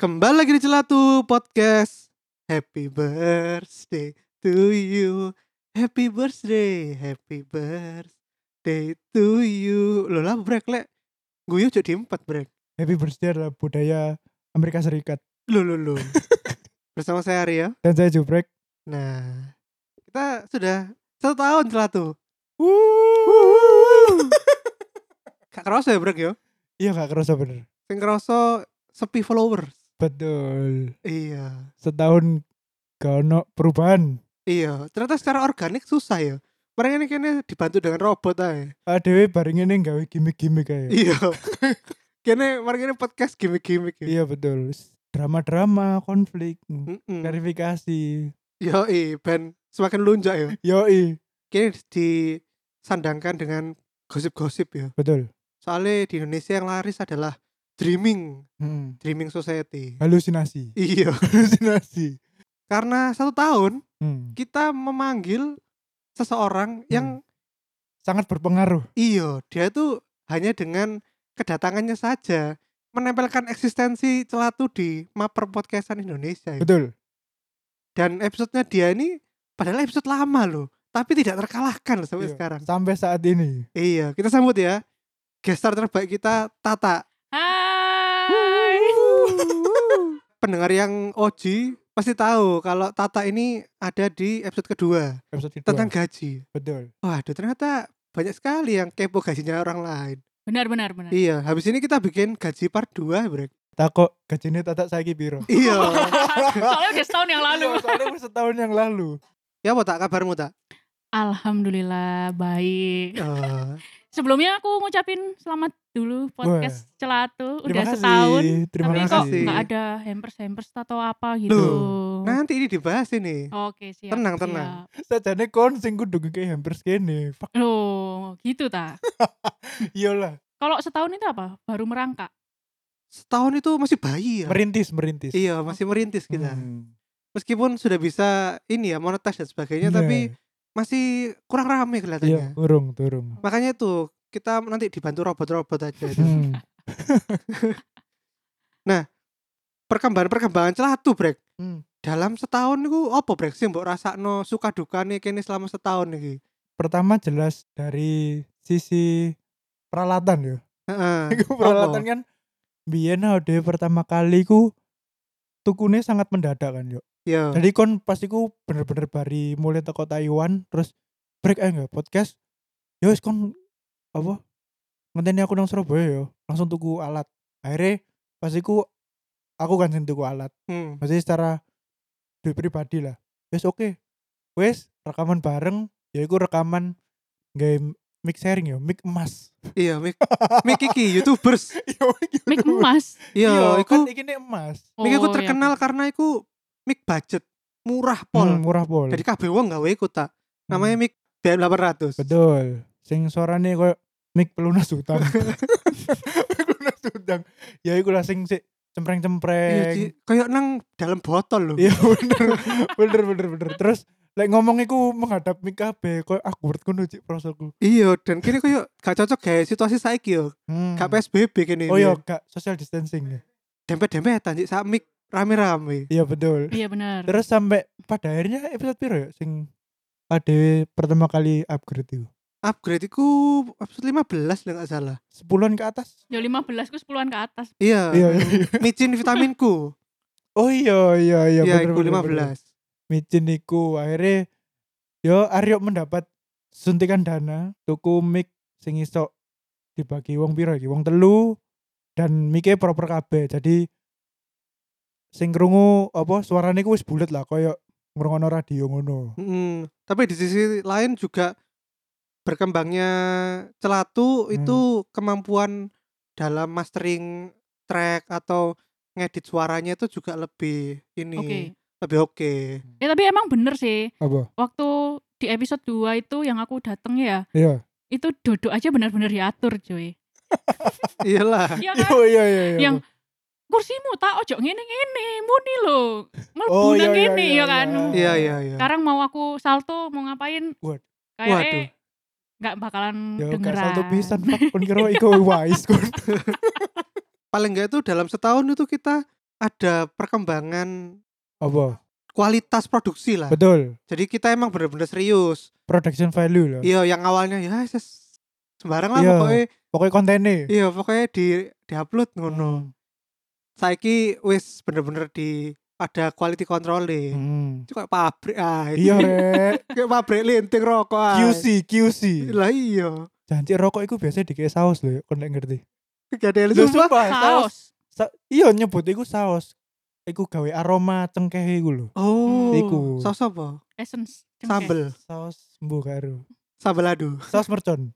Kembali lagi di Celatu Podcast. Happy birthday to you. Happy birthday, happy birthday to you. Loh lah brek lek. Gue yuk jadi empat brek. Happy birthday adalah budaya Amerika Serikat. Loh loh loh. Bersama saya Arya. Dan saya Jubrek. Nah, kita sudah satu tahun Celatu. Gak kerasa ya brek yo. Iya gak kerasa bener. Sing kerasa sepi followers. Betul. Iya. Setahun gak ono perubahan. Iya, ternyata secara organik susah ya. Mereka ini kayaknya dibantu dengan robot aja. Adewe bareng ini gawe gimmick-gimmick kayak. Iya. Kene mari kene podcast gimmick-gimmick ya. Iya betul. Drama-drama, konflik, Heeh. klarifikasi. Yo ben semakin lunjak ya. Yoi. Kene disandangkan dengan gosip-gosip ya. Betul. Soalnya di Indonesia yang laris adalah dreaming, Hmm. dreaming society. Halusinasi. Iya. Halusinasi. Karena satu tahun Hmm. kita memanggil seseorang yang Sangat berpengaruh. iyo Iya, dia itu hanya dengan kedatangannya saja menempelkan eksistensi celatu di maper podcastan Indonesia. ya. Betul. dan episodenya dia ini padahal episode lama loh tapi tidak terkalahkan loh sampai Iya. sekarang Sampai saat ini. iya kita sambut ya gestar terbaik kita Tata Hai. pendengar yang OG pasti tahu kalau Tata ini ada di episode kedua Episode kedua. tentang gaji Betul. waduh ternyata banyak sekali yang kepo gajinya orang lain Benar benar benar. iya habis ini kita bikin gaji part 2 brek Takok gajinya tatak saiki piro. iya Soalnya udah setahun yang lalu. Iya, Soalnya wis setahun yang lalu. ya apa tak kabarmu tak Alhamdulillah baik. Oh. Eh, Sebelumnya aku ngucapin selamat dulu podcast Celatu udah Terima kasih. setahun. Terima tapi kok kasih. nggak ada hampers hampers atau apa gitu. Nah, nanti ini dibahas Oh. ini Oke siap. Tenang, siap. tenang. Sajane kon sing kudu kayak hampir segini. Fuck Loh gitu ta. iyalah. Kalau setahun itu apa? Baru merangkak. setahun itu masih bayi ya Merintis, merintis. iya masih merintis kita Hmm. meskipun sudah bisa ini ya monetize dan sebagainya Iya, tapi masih kurang rame iya, kelihatannya turung, turung. makanya itu kita nanti dibantu robot-robot aja itu. Hmm. perkembangan-perkembangan celatu brek Hmm. dalam setahun niku apa brek sih mbok rasakno suka dukane kene selama setahun iki Pertama jelas dari sisi peralatan ya. heeh Iku peralatan kan biyen awake pertama kali ku tukune sangat mendadak kan yo. yo Jadi kon pasti ku bener-bener bari mulai teko Taiwan terus break ae nggak podcast. Ya wis kon apa? Ngenteni aku nang Surabaya yo, langsung tuku alat. Akhirnya pasti ku aku kan sing tuku alat. hmm. Maksudnya secara duit pribadi lah. Ya Wis oke. Wis rekaman bareng ya iku rekaman game mic sharing yo, mic emas. iya mik mik iki youtubers Yo iki Mik lho. emas. yo Iya, Ya, iku kan iki nih emas. mik iku Oh, terkenal iya. karena iku mik budget murah pol Hmm, murah pol. jadi kabeh wong gawe iku tak Hmm. namanya mik BM800 Betul. Sing suarane koyo mic pelunas utang. pelunas utang. Ya iku lah sing sik Iya, Ci. cempreng-cempreng. kayak nang dalam botol loh. Iya bener. bener bener bener. Terus lek ngomong iku menghadap mic kabeh koyo aku ngono cik prosoku. Iya, dan kini kayak gak cocok kayak situasi saiki yo. Hmm. Gak PSBB kini. Oh iya, gak social distancing. ya. dempet-dempetan sih sak mic rame-rame. Iya betul. Iya benar. Terus sampai pada akhirnya episode piro ya sing ade pertama kali upgrade itu. Upgrade iku episode 15 lah gak salah. Sepuluhan ke atas. Ya 15 ku 10-an ke atas. Iya. Iya, iya, iya. Micin vitaminku. Oh iya iya iya Iya, bener, iku 15. bener, bener. Micin iku akhirnya yo Aryo mendapat suntikan dana tuku mic sing iso dibagi wong piro iki? Wong telu dan mic proper kabeh. Jadi sing krungu apa suarane ku wis bulet lah koyo ngrungokno radio ngono. Mm-mm. Hmm. Tapi di sisi lain juga berkembangnya celatu Hmm. itu kemampuan dalam mastering track atau ngedit suaranya itu juga lebih ini Oke. lebih oke. Ya tapi emang bener sih. Apa? waktu di episode 2 itu yang aku dateng ya, Iya. itu duduk aja benar-benar diatur, cuy. Iyalah. Iya Iya kan? iya iya. iya. yang kursimu tak ojo ngene-ngene, muni lho. Mlebu Oh, iya, nang iya, ngene iya, ya kan. iya. Iya iya iya. Sekarang mau aku salto mau ngapain? Waduh. Waduh. Kayaknya nggak bakalan Yo gak dengeran. salto pisan Pak. Kon kira iku wise kon. Paling enggak itu dalam setahun itu kita ada perkembangan Apa? kualitas produksi lah. Betul. Jadi kita emang bener-bener serius. Production value lah. Iya, yang awalnya ya ses- sembarang lah Iya. pokoknya. Pokoknya kontennya. Iya, pokoknya di diupload ngono. Saiki wis bener-bener di ada quality control deh. Hmm. Itu kayak pabrik ah. Iya rek. Kayak pabrik linting rokok ah. Iya. QC QC. Lah iya. Janji rokok iku biasanya dikasih saus lho, kon nek ngerti. Gak ada yang Lho, sumpah. saus. Saus. Sa- iya nyebut iku saus. Iku gawe aroma cengkehe iku lho. Oh, Iku. saus apa? Essence. cengkeh. Sambel. Saus mbuh karo. Sambel adu. Saus mercon.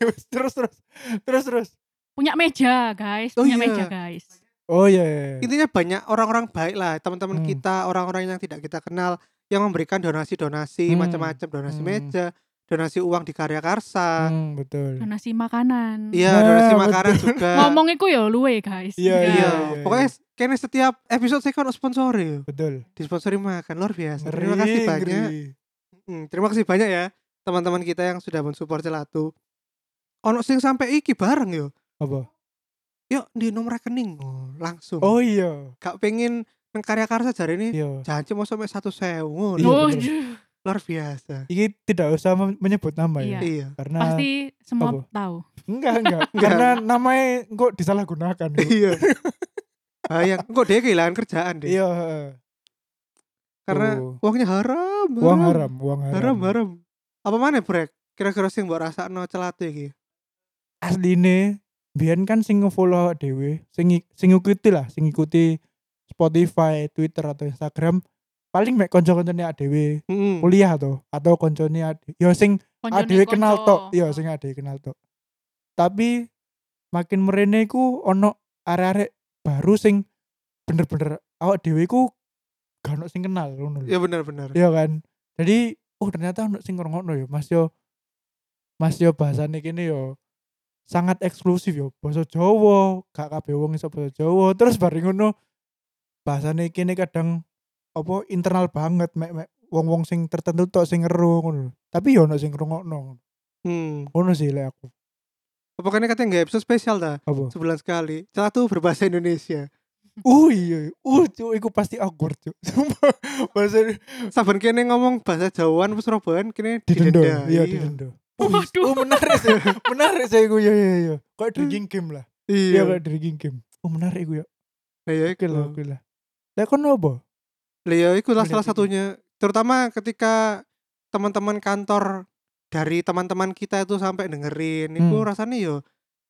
terus terus. Terus terus. Punya meja, guys. Oh, Punya iya. meja, guys. Oh iya. iya, iya. Intinya banyak orang-orang baik lah, teman-teman Hmm. kita, orang-orang yang tidak kita kenal yang memberikan donasi-donasi Hmm. macam-macam, donasi Hmm. meja, donasi uang di Karya Karsa. Hmm, betul. Donasi makanan. Iya, Nah, donasi betul. makanan juga. Ngomong iku ya luwe, guys. Iya, Iya, iya, pokoknya kayaknya setiap episode saya kan sponsori, yo. Betul. disponsori makan luar biasa. Nah, terima kasih Ngeri, banyak. ngeri. Mm, terima kasih banyak ya teman-teman kita yang sudah mensupport Celatu. Ono sing sampai iki bareng yo. Apa? Yuk di nomor rekening oh, langsung. Oh iya. Gak pengen nang Karya Karsa jari ini. Iya. Janji mau sampai satu sewu. Iya, Oh, betul. aduh. Luar biasa. Iki tidak usah mem- menyebut nama ya. Iya. Iya. Karena pasti semua apa? tahu. enggak enggak. Enggak. Karena namanya kok disalahgunakan. Bu. Iya. Bayang, kok dia kehilangan kerjaan deh. iya, heeh. Karena Oh. uangnya haram. uang haram, uang haram. Haram, haram. Apa mana brek? Kira-kira sing mbok rasakno celatu iki? Asline biyen kan sing nge-follow awak dhewe, sing ngi- sing ngikuti lah, sing ngikuti Spotify, Twitter atau Instagram paling mek kanca-kancane awak dhewe Heeh. kuliah to atau koncone ade- ya sing Konjone adewe kenal konco. tok iya sing adewe kenal tok tapi makin merene iku ono arek-arek baru sing bener-bener awak dhewe iku gak ono sing kenal ngono lho Ya benar-benar. iya kan jadi oh ternyata ono sing ngrungokno ya Mas yo Mas yo bahasane kene yo sangat eksklusif yo basa Jawa gak kabeh wong iso basa Jawa terus bareng ngono bahasane kene kadang apa internal banget mek mek wong-wong sing tertentu tok sing ngeru ngono lho. tapi yo ono sing ngrungokno Hmm. ngono sih lek aku Pokoknya katanya nggak episode spesial dah apa sebulan sekali. Celatu berbahasa Indonesia. uh iya uh cuk iku pasti awkward cuk sumpah bahasa Saben kene ngomong bahasa Jawaan apa Surabaan kene didenda didenda. iya didenda Waduh. Oh menarik sih, menarik sih gue ya ya ya. Kayak drinking game lah, Iya. iya kayak drinking game. Oh menarik gue ya, Nah, ya oke iku lah lho. oke lah. Lah kon apa? Lah, ya iku lah Melihat salah itu. satunya. Terutama ketika teman-teman kantor dari teman-teman kita itu sampai dengerin, itu Hmm. rasanya yo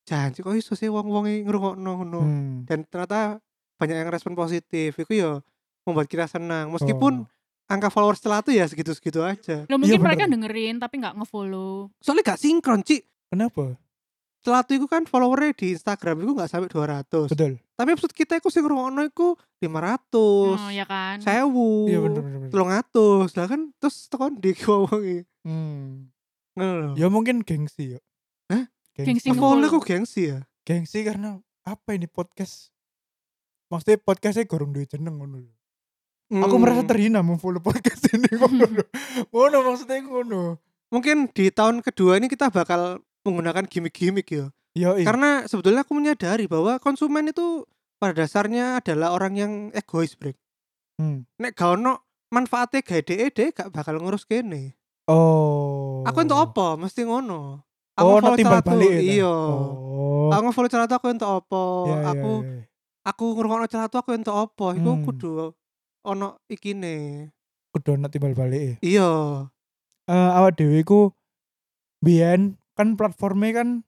janji kok iso sih wong-wonge ngrungokno ngono. Hmm. Dan ternyata banyak yang respon positif. Iku yo membuat kita senang. Meskipun Oh. angka followers celatu ya segitu-segitu aja. Loh, Iya, mungkin mereka bener. dengerin tapi nggak ngefollow. Soalnya gak sinkron, Ci. kenapa? Celatu itu kan followernya di Instagram itu gak sampai 200. Betul. Tapi episode kita itu sing ngrungokno iku 500. Oh, ya kan. sewu Iya bener bener. bener. telung atus lah kan terus tekan di wongi Hmm. ngono lho Ya mungkin gengsi ya. Hah? Gengsi apa Sing oleh follow. kok gengsi ya Gengsi karena apa ini podcast? Maksudnya podcastnya gorong duwe jeneng ngono lho. Aku Hmm, merasa terhina memfollow podcast ini ngono lho. Ngono maksudnya ngono. mungkin di tahun kedua ini kita bakal menggunakan gimmick-gimmick ya Yo, karena sebetulnya aku menyadari bahwa konsumen itu pada dasarnya adalah orang yang egois brek hmm. nek gak ono manfaatnya gak dhewe dhewe gak bakal ngurus kene Oh. aku untuk apa mesti ngono aku Oh, follow no timbal celatu, balik ya, ta? iya Oh. aku follow celatu aku untuk apa Ya, ya, aku ya, ya. aku ngrungokno celatu aku entuk apa iku Hmm. kudu ono ikine kudu ana timbal balik ya. iya Eh, awak dhewe iku biyen kan platformnya kan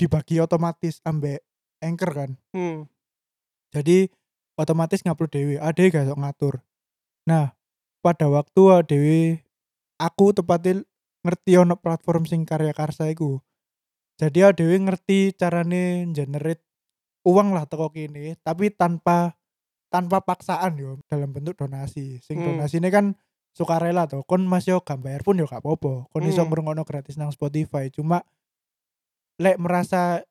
dibagi otomatis ambek anchor kan. hmm. Jadi otomatis ngupload dhewe, ade gak sok ngatur. Nah, pada waktu awak dhewe aku tepatnya ngerti ono platform sing karya karsa iku. Jadi awak dhewe ngerti carane generate uang lah teko kene, tapi tanpa tanpa paksaan yo dalam bentuk donasi. Sing Hmm. donasine kan sukarela to kon mas yo gak bayar pun yo gak apa-apa kon iso Hmm. ngrungokno gratis nang Spotify cuma lek merasa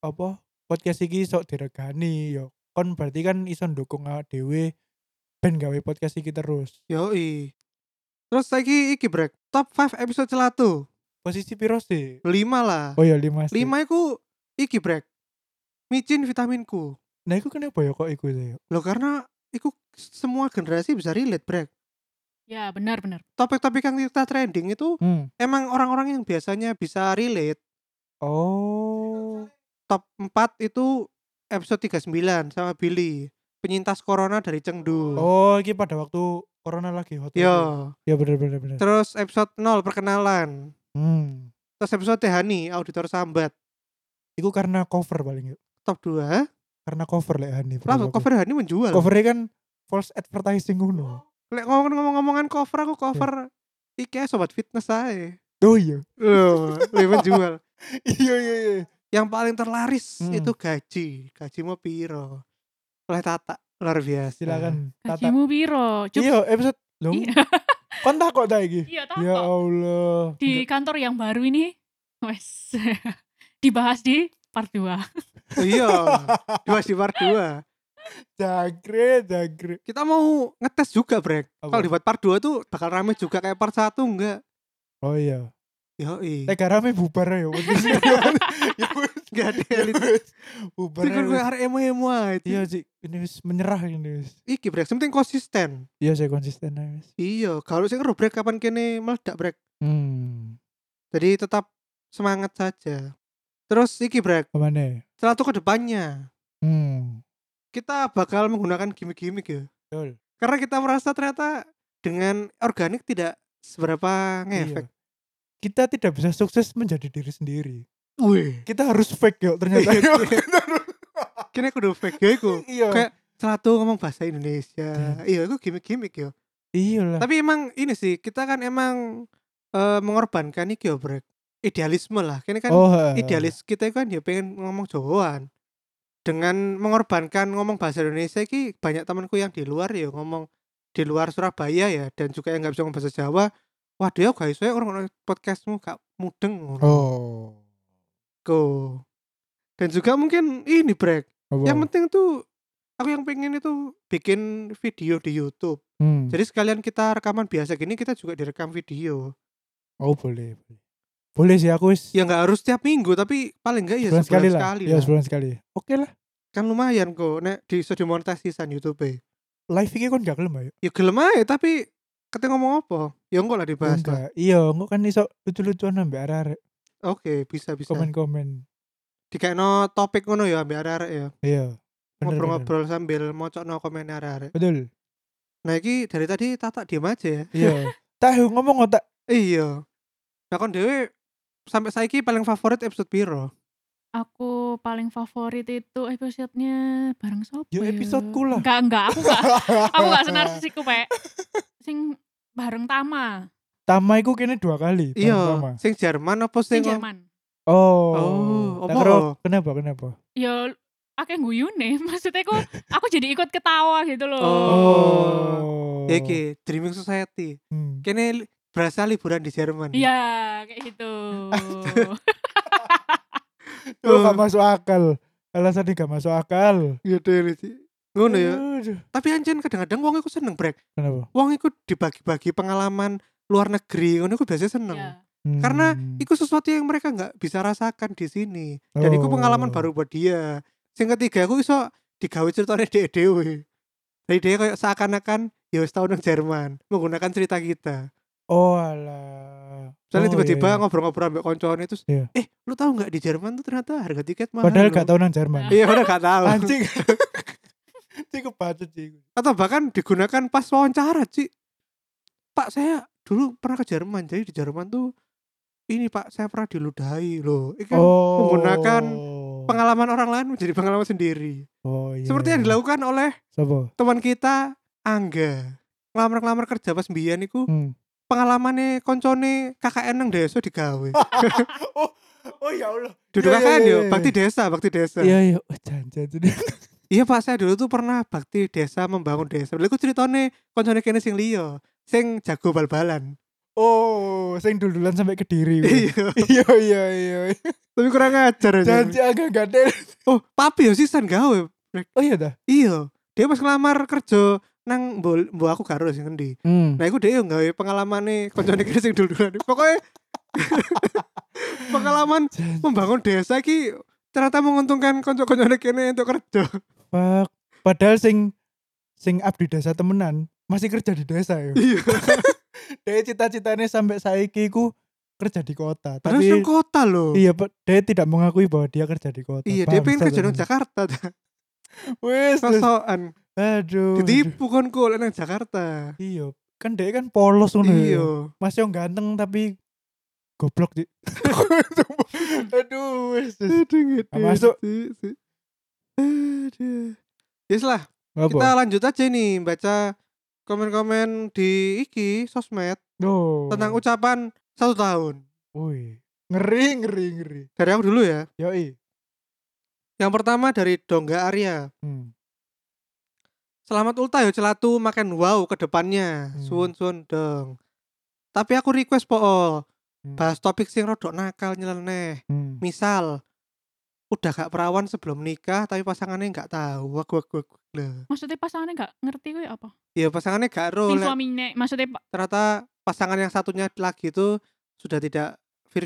apa podcast iki iso diregani yo kon berarti kan iso ndukung awake dhewe ben gawe podcast iki terus Yoi. Terus lagi iki break. Top 5 episode celatu. posisi piro 5 sih lah. oh ya lima sih 5 iku iki break. Micin vitaminku. nah iku kenapa ya kok iku sih Loh karena iku semua generasi bisa relate break. Ya benar-benar. Topik-topik yang kita trending itu hmm. emang orang-orang yang biasanya bisa relate. oh Top 4 itu episode 39 sama Billy. Penyintas corona dari Chengdu. oh iki pada waktu corona lagi hot Yo. ya bener bener bener Terus episode 0 perkenalan. hmm. Terus episode Tehani auditor sambat. iku karena cover paling yo Top 2. karena cover lek Hani Lah menurut aku. cover Hani menjual. covernya kan false advertising ngono. Lek ngomong ngomong-ngomongan cover aku cover Hmm. iki ae sobat fitness ae. Oh iya. Loh, lek menjual. iya iya iya. Yang paling terlaris Hmm. itu gaji. Gaji mau piro? Oleh Tata luar biasa. Silakan Tata. Gajimu piro? Cuk. Iya, episode lu Iya. kontak kok ta iki? Iya tak Ya kok. Allah. Di kantor yang baru ini wes dibahas di part 2. iya. Dua di part 2. Jagre, jagre. Kita mau ngetes juga, Brek. Apa? Kalau dibuat part 2 tuh bakal rame juga kayak part 1 enggak? Oh iya. Yoi. Tega rame bubar ya. wes. Ya wes, Enggak ada ya elit. wes. Bubar. Ini ya kan gue wes. arek emo-emo ae. Iya sih, ini wis menyerah ini wis. Iki, Brek, penting konsisten. Iya saya konsisten aja, wis. Iya, kalau sing ngeru, Brek kapan kene meledak, Brek. Hmm. Jadi tetap semangat saja. Terus iki brek, Kemana? celatu ke depannya. Hmm. Kita bakal menggunakan gimmick-gimmick ya. Betul. Karena kita merasa ternyata dengan organik tidak seberapa ngefek. Iya. Kita tidak bisa sukses menjadi diri sendiri. Wih. Kita harus fake yuk ternyata. Kini aku udah fake ya iku. Iya. Kayak celatu ngomong bahasa Indonesia. Iya, itu gimmick-gimmick ya. Iya lah. Tapi emang ini sih, kita kan emang eh, mengorbankan iki ya brek. Idealisme lah. Kini kan oh, ha. idealis kita kan ya pengen ngomong Jawaan dengan mengorbankan ngomong bahasa Indonesia ki banyak temanku yang di luar ya ngomong di luar Surabaya ya dan juga yang nggak bisa ngomong bahasa Jawa waduh ya guys saya orang orang podcastmu gak mudeng ngono. Oh. Ko. dan juga mungkin ini break Apa? yang penting tuh aku yang pengen itu bikin video di YouTube Hmm. jadi sekalian kita rekaman biasa gini kita juga direkam video Oh boleh. boleh. Boleh sih aku wis. ya nggak harus tiap minggu tapi paling nggak ya sebulan sekali lah. ya lah. sebulan sekali. Oke lah. kan lumayan kok nek di iso dimonetisasi san YouTube Live ini kan gak kelem ya ya. gelem ae tapi kate ngomong apa ya engko lah dibahas lah. Enggak. Iya, engko kan iso lucu-lucuan ambek arek-arek oke bisa bisa komen-komen. dikekno topik ngono ya ambek arek ya Iya. Bener, bener. ngobrol-ngobrol sambil mocokno komen arek Betul. nah iki dari tadi tata diem aja ya Iya. Tahu ngomong otak. iya nah kon dhewe sampai saiki paling favorit episode piro Aku paling favorit itu episode-nya bareng sopo Ya, ya? episodeku lah. Enggak, enggak, aku enggak. aku enggak senarsiku, Pak. Sing bareng Tama, Tama iku kene dua kali. bareng Tama. iya sing Jerman apa sing sing Jerman. Oh. Oh, Tak apa? kira kenapa kenapa? Ya akeh guyune, maksudnya aku aku jadi ikut ketawa gitu loh. oh, Ya iki Dreaming Society Hmm. kene li- berasa liburan di Jerman Iya, kayak gitu. Oh, Uh. gak masuk akal. Alasannya gak masuk akal. ya dhewe sih ngono ya Iya. Aduh. tapi anjen kadang-kadang wong iku seneng brek Kenapa? wong iku dibagi-bagi pengalaman luar negeri ngono iku biasanya seneng Iya. Karena Hmm. iku sesuatu yang mereka nggak bisa rasakan di sini dan iku pengalaman Oh. baru buat dia sing ketiga aku iso digawe ceritanya dhewe dhewe jadi dia kayak seakan-akan ya wis tau nang Jerman menggunakan cerita kita Oh alah. misalnya Oh, tiba-tiba iya, iya. ngobrol-ngobrol ambek koncone terus Iya. eh lu tahu nggak di Jerman tuh ternyata harga tiket mahal Padahal loh." gak tau nang Jerman. iya udah gak tahu Anjing. Cik kebacut sih. atau bahkan digunakan pas wawancara sih pak saya dulu pernah ke Jerman jadi di Jerman tuh ini pak saya pernah diludahi loh Ini kan Oh. menggunakan pengalaman orang lain menjadi pengalaman sendiri Oh, iya. seperti yang dilakukan oleh Sopo? teman kita Angga ngelamar-ngelamar kerja pas mbiyen iku Hmm. pengalamannya koncone KKN nang desa digawe Oh, oh ya Allah. duduk Iya, iya, KKN iya, yo iya. bakti desa bakti desa Iya iya, oh, jangan jangan. iya pak saya dulu tuh pernah bakti desa membangun desa lha iku ceritane koncone kene sing liya sing jago bal-balan. Oh, sing dululan sampai kediri. weh. Iya. Iya iya iya. Tapi kurang ajar aja. Janji agak gadel. Oh, papi yo sisan gawe. Oh iya dah. Iya. Dia pas ngelamar kerja nang mbok mbok aku karo sing ngendi. Hmm. Nah, iku dia yo gawe pengalamane koncone kene sing dul-dulan. Pokoke pengalaman membangun desa iki ternyata menguntungkan konco-koncone kene untuk kerja. Fuck. Padahal sing sing abdi desa temenan masih kerja di desa ya. Iya. Dia cita-citanya sampai saiki ku kerja di kota. Padahal Tapi sing kota loh. iya, Pak, dia tidak mengakui bahwa dia kerja di kota. Gitu. Iya, dia pengen Bangsat kerja nang emang. Jakarta. Wes, wes. Sosokan. aduh. aduh. Ditipu kon kok nang Jakarta. Iya, kan dia kan polos ngono. ya. Iya. Mas yang ganteng tapi goblok di. Aduh, wes. wes. Aduh, nggak Nggak gitu. masuk. disitu. Aduh. Yes lah, kita Apa? lanjut aja nih baca komen-komen di iki sosmed Oh. tentang ucapan satu tahun. Woi, ngeri ngeri ngeri. Dari aku dulu ya. Yoi. Yang pertama dari Dongga Arya. Hmm. Selamat ulta yo celatu makan wow ke depannya. Hmm. Suwun-suwun dong. Tapi aku request pool Hmm. bahas topik sing rodok nakal nyeleneh. Hmm. Misal udah gak perawan sebelum nikah tapi pasangannya nggak tahu. Wak wak wak. Lah, Maksudnya pasangannya gak ngerti gue apa? ya pasangannya gak Sing Oh, roh. lek suaminya, maksudnya pak. ternyata pasangan yang satunya lagi itu sudah tidak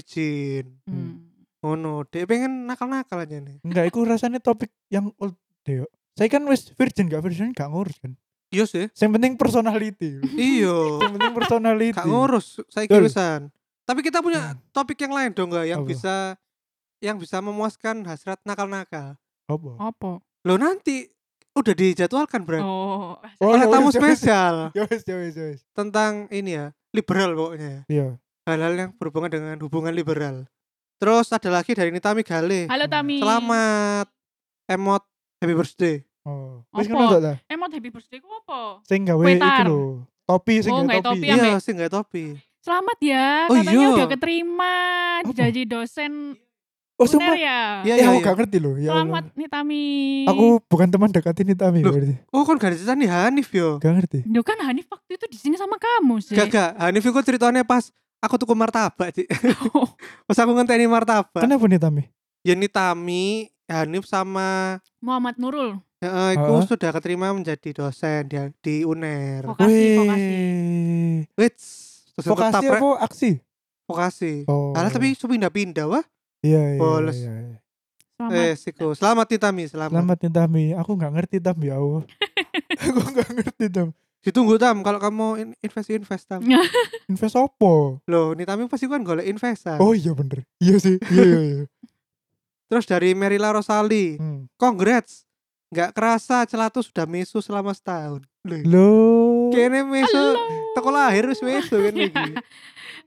virgin. Hmm. Ngono, dia pengen nakal-nakal aja nih. Enggak, itu rasanya topik yang old deh. yuk. Saya kan wis virgin gak virgin gak ngurus kan. Iya sih. Yang penting personality. Iya. yang penting personality. Gak ngurus, saya Betul. kirusan. Tapi kita punya Hmm. topik yang lain dong nggak yang Apa? bisa yang bisa memuaskan hasrat nakal-nakal. Apa? Apa? Lo nanti udah dijadwalkan berarti Oh. oleh ya tamu wis, ya wis. spesial Ya wis, ya wis, ya wis. tentang ini ya liberal pokoknya Iya. hal-hal yang berhubungan dengan hubungan liberal. Terus ada lagi dari Nita Migale. Halo Tami. Eh, Selamat emot happy birthday. Oh. Wis Apa? ngono tok ta? Emot Eh, happy birthday ku apa? Sing gawe itu Wetar. lho. Topi sing Oh, gawe nggak topi. topi, Iya, Iya, Mek. sih nggak topi. Selamat ya, Oh, katanya iya. udah keterima Apa? jadi dosen Oh, uner sumpah. ya. Iya, Eh, iya, aku iya. gak ngerti lho. Ya Allah. Selamat nih Tami. Aku bukan teman dekat ini Tami Loh. berarti. Oh, kon gak ada cerita nih Hanif yo. Gak ngerti. Duh kan Hanif waktu itu di sini sama kamu sih. Gak Nah, gak. Hanif itu ceritanya pas aku tuku martabak, Cik. Oh, Pas aku ngenteni martabak. Kenapa nih Tami? Ya Nitami, Hanif sama Muhammad Nurul. Heeh, iku Heeh. sudah keterima menjadi dosen di, di UNER. Vokasi, vokasi. Wih. Wits, dosen Vokasi tetap rek. apa aksi? vokasi. Oh. Alah, tapi su pindah-pindah wah. iya, iya, bolos. iya, iya. Selamat. Eh, siku. Selamat Nitami, selamat. Selamat nih Tami. Aku nggak ngerti Tam ya Allah. aku nggak ngerti Tam. Ditunggu Tam kalau kamu in- invest-invest Tam. Hmm. Invest opo? Loh, Nitami pasti kan golek investan. Oh iya bener. Iya sih. Iya iya. iya. Terus dari Merila Rosali, Hmm. congrats. Nggak kerasa celatu sudah mesu selama setahun. Loh. Loh. Kene meso Halo. teko lahir wis meso kene Iya. iki.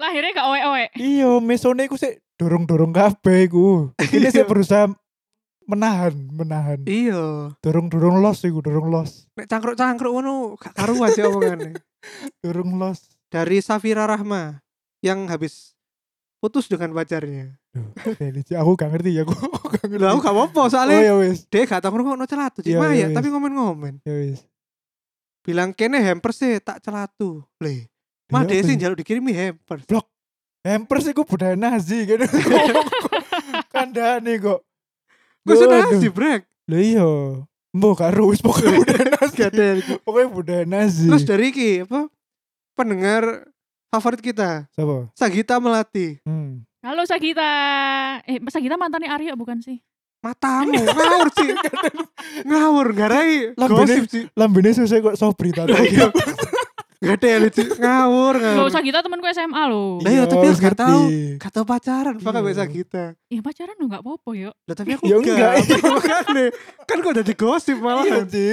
Lahirnya gak oe-oe. Iya, mesone iku sik dorong-dorong kabeh iku. Ini Iya. sik berusaha menahan, menahan. Iya, Dorong-dorong los iku, dorong los. nek cangkruk-cangkruk ngono gak karuan sih omongane. Dorong los. Dari Safira Rahma yang habis putus dengan pacarnya. Duh, Deli, Ci, aku gak ngerti ya, aku, aku gak ngerti. Lah aku gak apa-apa soalnya Oh ya wis, dia gak tau ngrungokno celatu Iya, cuma ya iya, iya. tapi ngomen-ngomen. ya wis. Bilang kene hamper sih tak celatu. Le, mah Ya, dia apa sih ya? njaluk dikirimi hamper. Hampers iku budaya Nazi gitu. Kandhane kok. Gue sudah Waduh. sih brek. Lho iya. Mbok karo wis pokoknya budaya Nazi. Gak ada. pokoknya budaya Nazi. Iya. Terus dari iki apa? Pendengar favorit kita, Siapa? Sagita Melati. Hmm. Halo Sagita. Eh, Sagita mantannya Arya bukan sih? Matamu ngawur sih. ngawur ngarai Lambene- gosip sih. Lambene susah kok sobri tadi. iya, Gak ada ya sih ngawur Loh, ngawur. Sagita temanku SMA loh. Lah, iya, tapi harus harus gak tahu. Oh, ngerti. Gak tau pacaran, pakai Iya. bahasa kita. Ya pacaran lo gak apa-apa yuk. Lah tapi aku Ya enggak. enggak. Makanya, kan kok jadi gosip Iya, malah. Ci.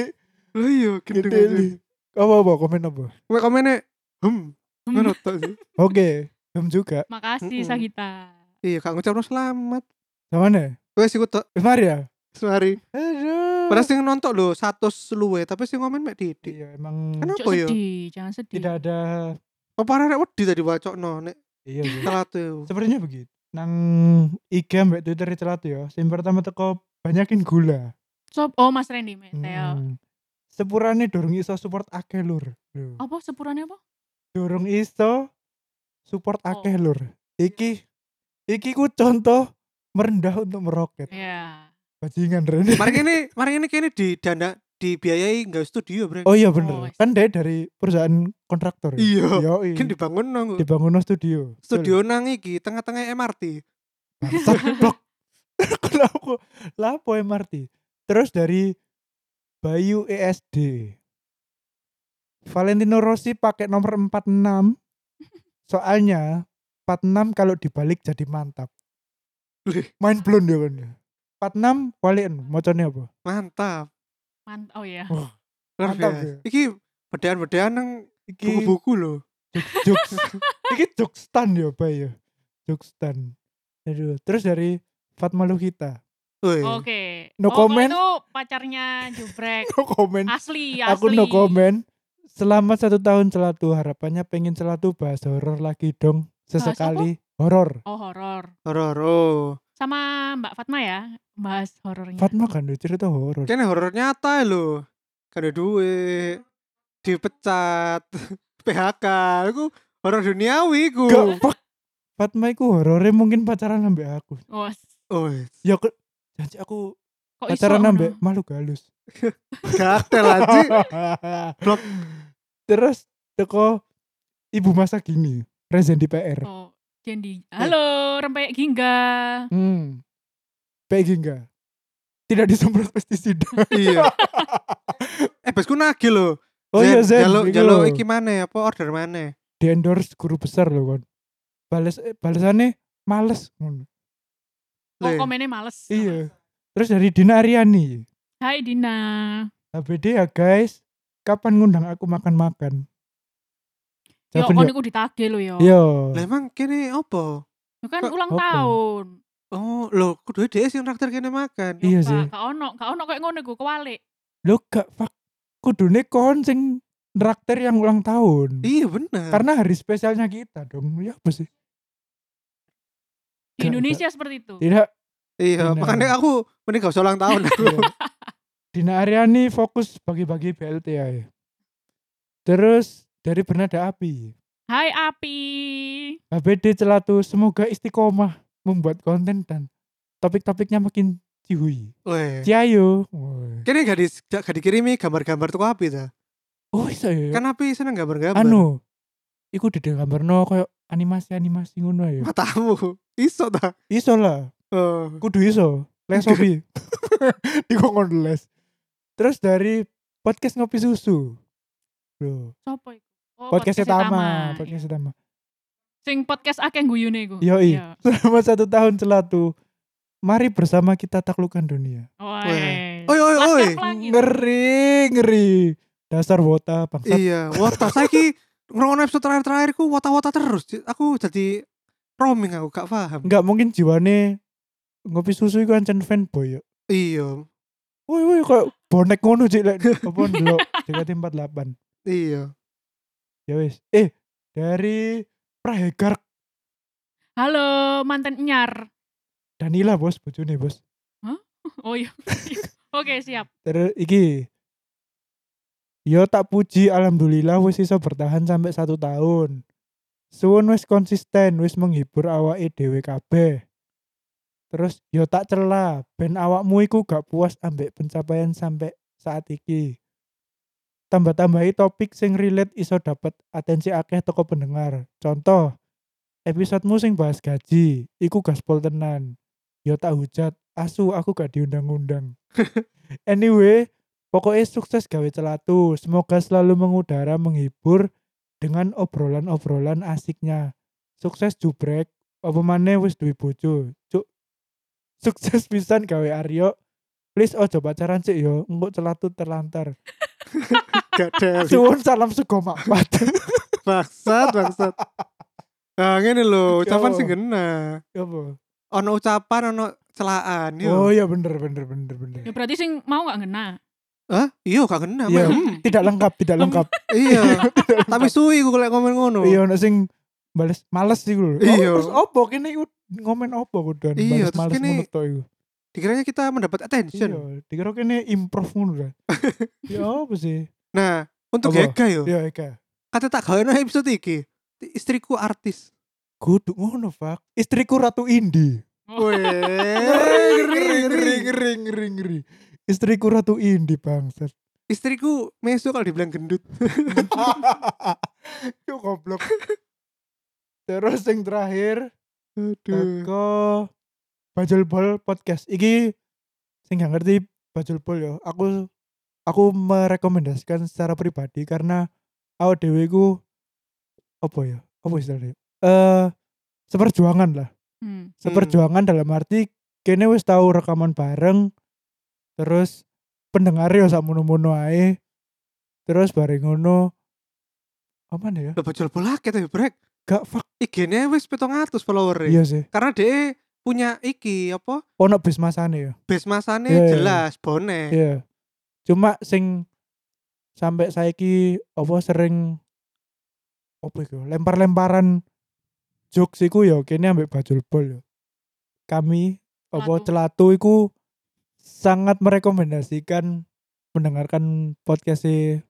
Lah iya, gitu Gede Li. Apa apa komen apa? Kowe komennya, hmm, Hmm. ngono tok sih. Oke, belum juga. Makasih Mm-mm. Sagita. Iya, Kak ngucapno selamat. Sama nih. Wes iku tok, Wis mari ya. semari. Aduh. Padahal sing nonton lho 100 luwe, tapi sing komen mek didik. Iya, emang Kenapa? Jangan Apa ya? sedih, jangan sedih. tidak ada Apa arek wedi tadi wacokno nek iya sih. telatu. Sepertinya begitu. Nang IG mbak Twitter celatu ya. Yang pertama teko banyakin gula. Sob, oh Mas Randy Metel. Hmm. Sepurane dorong iso support akeh lur. Lho. Oh. Apa sepurane apa? durung iso support Oh. akeh lur. Iki iki ku contoh merendah untuk meroket. Ya. Bajingan Ren. Mari ini, mari ini kayaknya di dana dibiayai nggak studio bre. Oh iya Oh, bener. wis. Kan dia dari perusahaan kontraktor. ya? Iya. Yoi. Kan dibangun nang dibangun studio. studio nang iki tengah-tengah MRT. Blok. Kalau aku lapo MRT. Terus dari Bayu ESD. Valentino Rossi pakai nomor 46. Soalnya 46 kalau dibalik jadi mantap. Lih. Main blown dia kan. 46 walian mocone apa? Mantap. Man oh ya. Luar Mantap, biasa. ya. Iki bedaan-bedaan nang Iki buku-buku loh. jokes. Iki jokstan ya, Bay ya. Jokstan. Aduh, terus dari Fatma Luhita. Woi. Oke. Eh, No Oh, kalau comment. Itu pacarnya Jubrek. No comment. Asli, asli. Aku no comment. Selamat satu tahun celatu. Harapannya pengen celatu bahas horor lagi dong. Sesekali horor. Oh, horor. Hororo. Sama Mbak Fatma ya, bahas horornya. Fatma kan udah cerita horor. Kayaknya horor nyata loh. Kan ada duit. Dipecat. PHK. Aku horor duniawi ku. Gak fuck. Fatma iku horornya mungkin pacaran sampai aku. Oh, Oh, Ya aku janji aku kok Oh, iso pacaran ngono? sampai makhluk halus. gatel aja. Blok. Terus teko ibu masa gini. Rezen di PR. Oh, Jendi. Eh. Halo, rempeyek gingga. Hmm. Peggy enggak? Tidak disemprot pestisida. iya. Eh, besku nagih loh. Oh iya Zen. Jalo, iku jalo lho. iki mana apa order mana? di endorse guru besar loh kon balas eh, balasannya males ngono. Oh, Le. komennya males. iya terus dari Dina Ariani Hai Dina. HBD ya guys kapan ngundang aku makan-makan Yo, Jawaban kon yo- iku ditagih lo yo. yo Lah emang kene apa? Yo kan Kok- ulang apa? tahun. Oh, lo kudu dhewe sing traktir kene makan. Iya Kak, sih. Kak ono, kak ono kayak ngono iku kewalik. lo gak fak kudune kon sing traktir yang ulang tahun Iya bener. karena hari spesialnya kita dong ya apa sih Di Gak- Indonesia seperti itu. tidak iya, Bener. makanya aku mending gak usah ulang tahun aku. Iya. Dina Ariani fokus bagi-bagi BLTA ya. terus dari Bernada Api Hai Api. HBD Celatu semoga istiqomah membuat konten dan topik-topiknya makin cihui. Weh. Ciayo. Oh, Woy. Kene gak Kan di gak dikirimi gambar-gambar tuh api ta. Oh iso ya. Kan api seneng gambar-gambar. Anu. Iku di gambarno koyo animasi-animasi ngono ya. Matamu. Iso ta. Iso lah. Oh. Kudu iso. Les opi. Dikongkon les. Terus dari podcast ngopi susu. Bro, Sopo iku? Oh, podcast Tama. Tama, podcast Tama. Sing podcast akeh guyune iku. Yoi. Iya. Selama satu tahun celatu. Mari bersama kita taklukkan dunia. Wes. Oi oi Laskar oi. Pelangi. ngeri ngeri dasar wota bangsa Iya, wota saiki ngrungokno episode terakhir-terakhirku wota-wota terus. Aku jadi roaming aku gak paham. nggak mungkin jiwane ngopi susu itu ancen fanboy ya Iya, woi woi kayak bonek ngono cik lek apa ndelok JKT48 iya. ya wis eh dari Prahegar Halo mantan nyar. Danila bos bojone bos Oh iya. Oke, siap. terus iki Yo tak puji alhamdulillah wis iso bertahan sampai satu tahun. Suwun wis konsisten wis menghibur awake dhewe kabeh. Terus yo tak cela ben awakmu iku gak puas ambek pencapaian sampai saat iki. Tambah-tambahi topik sing relate iso dapat atensi akeh toko pendengar. Contoh, episodemu sing bahas gaji, iku gaspol tenan. Yo tak hujat, asu aku gak diundang-undang. Anyway, pokoknya sukses gawe celatu. Semoga selalu mengudara, menghibur dengan obrolan-obrolan asiknya. Sukses jubrek, apa maneh wis duwe bojo. Cuk. Sukses pisan gawe Aryo. Please ojo pacaran sih yo, engko celatu terlantar. Gak ada. Suwun salam sego makbat. Bangsat, bangsat. Nah, ngene lho, ucapan Yo. sing kena. Ya apa? Ono ucapan, ono celaan, Oh yo. iya bener bener bener bener. Iya, Ya berarti sing mau nggak ngena. Hah? Iya, gak kena. Iya, Mem. tidak lengkap, tidak lengkap. Iya. Tapi suwi ku lek komen ngono. Iya ono sing bales males sih lho. Iya. Oh, terus opo kene iku ngomen opo kudu Iya, bales terus males kene- ngono tok iku. Dikiranya kita mendapat attention. Iya, dikira kene improve ngono kan. ya apa sih? Nah, untuk Apa? Ega yo. Ya Eka. kata tak gawe no episode iki. Istriku artis. Kudu ngono, Pak. Istriku ratu indie. Weh, ngeri, ngeri, ngeri. Istriku ratu indie, bangsat. Istriku mesu kalau dibilang gendut. Yo goblok. Terus yang terakhir, Aduh. teko Bajul Bol podcast. Iki sing gak ngerti Bajul Bol yo. Aku aku merekomendasikan secara pribadi karena aku dhewe iku apa ya? Apa istilahnya? Eh seperjuangan lah. Hmm. Seperjuangan dalam arti kene wis tahu rekaman bareng terus pendengar yo sak mono-mono ae. Terus bareng ngono apa ya? Lah bocor bola kita brek. Gak fuck IG-nya wis 700 follower. iya sih. Karena dia punya iki apa? Ono bis masane yo. Base masane Iya, iya. jelas bone. Iya. Cuma sing sampai saiki apa sering apa iku lempar-lemparan jokes iku ya kene ambek bajul bol ya. Kami apa Celatu. celatu iku sangat merekomendasikan mendengarkan podcast si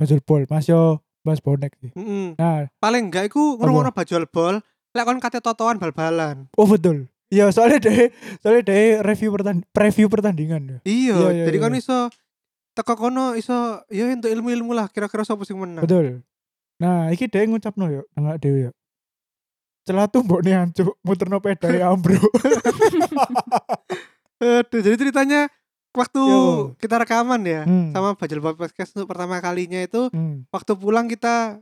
Bajul Bol Mas yo Mas Bonek sih. Mm-mm. Nah, Paling enggak iku ngrungokno bajol bol. Lek kon kate totoan bal-balan. oh betul. Iya, soalnya deh, soalnya deh review pertand preview pertandingan ya. Iya, iya, Iya, jadi kon iya. iso teko kono iso ya entuk ilmu-ilmu lah kira-kira sapa sing menang. Betul. Nah, iki dhewe ngucapno yo, nang dhewe yo. Celatu mbokne ancuk, muterno pedae ambruk. Aduh, jadi ceritanya waktu Yo. kita rekaman ya Hmm. sama Bajul Bol Podcast untuk pertama kalinya itu Hmm. waktu pulang kita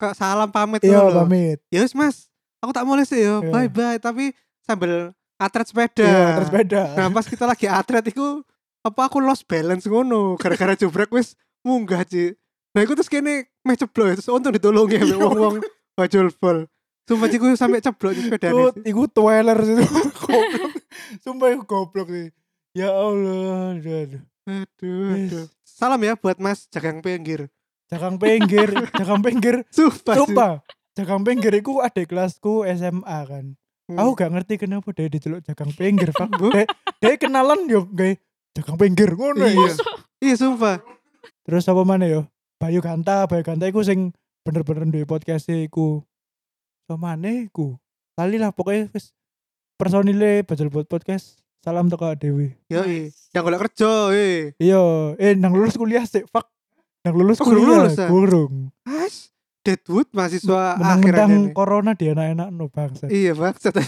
ke salam pamit Iya, dulu. pamit. Ya wis, Mas. Aku tak mulai sih yo. Iya. Bye bye tapi sambil atret sepeda. Iya, terus beda. Ya. Nah, pas kita lagi atret iku apa aku lost balance ngono gara-gara jubrek wis munggah, Ci. Nah, iku terus kene meh ceblok ya, terus untung ditolongi Iya. ambek wong-wong Bajul Bol. Sumpah Ci, ku sampe ceblok Ci, Iku, sepedane. Ci. iku tweler sih. goblok. Sumpah iku goblok sih. Ya Allah, aduh, aduh. Aduh, Yes. aduh. Salam ya buat Mas Jagang Pinggir. Jakang pinggir, jakang pinggir. Sumpah. Ci. Sumpah, jakang pinggir iku adik kelasku SMA kan. Hmm. Aku gak ngerti kenapa dia diceluk jakang pinggir, Pak. Bu. Dia, dia kenalan yo, guys. Jakang pinggir ngono ya. Iya. Iya, sumpah. Terus apa mana yo? Bayu Ganta, Bayu Ganta iku sing bener-bener duwe podcast e iku. Somane iku. Lali lah pokoknya wis personile Bajul Bot Podcast. Salam teko Dewi. Yo, yang golek kerja, eh. Iya, eh nang lulus kuliah sih, fuck. Nang lulus Oh, kuliah, belum lulus, lulus, ya? burung. As, Deadwood mahasiswa akhiran ini. Menang-menang corona dia enak-enak no bangsa. Iya, maksud.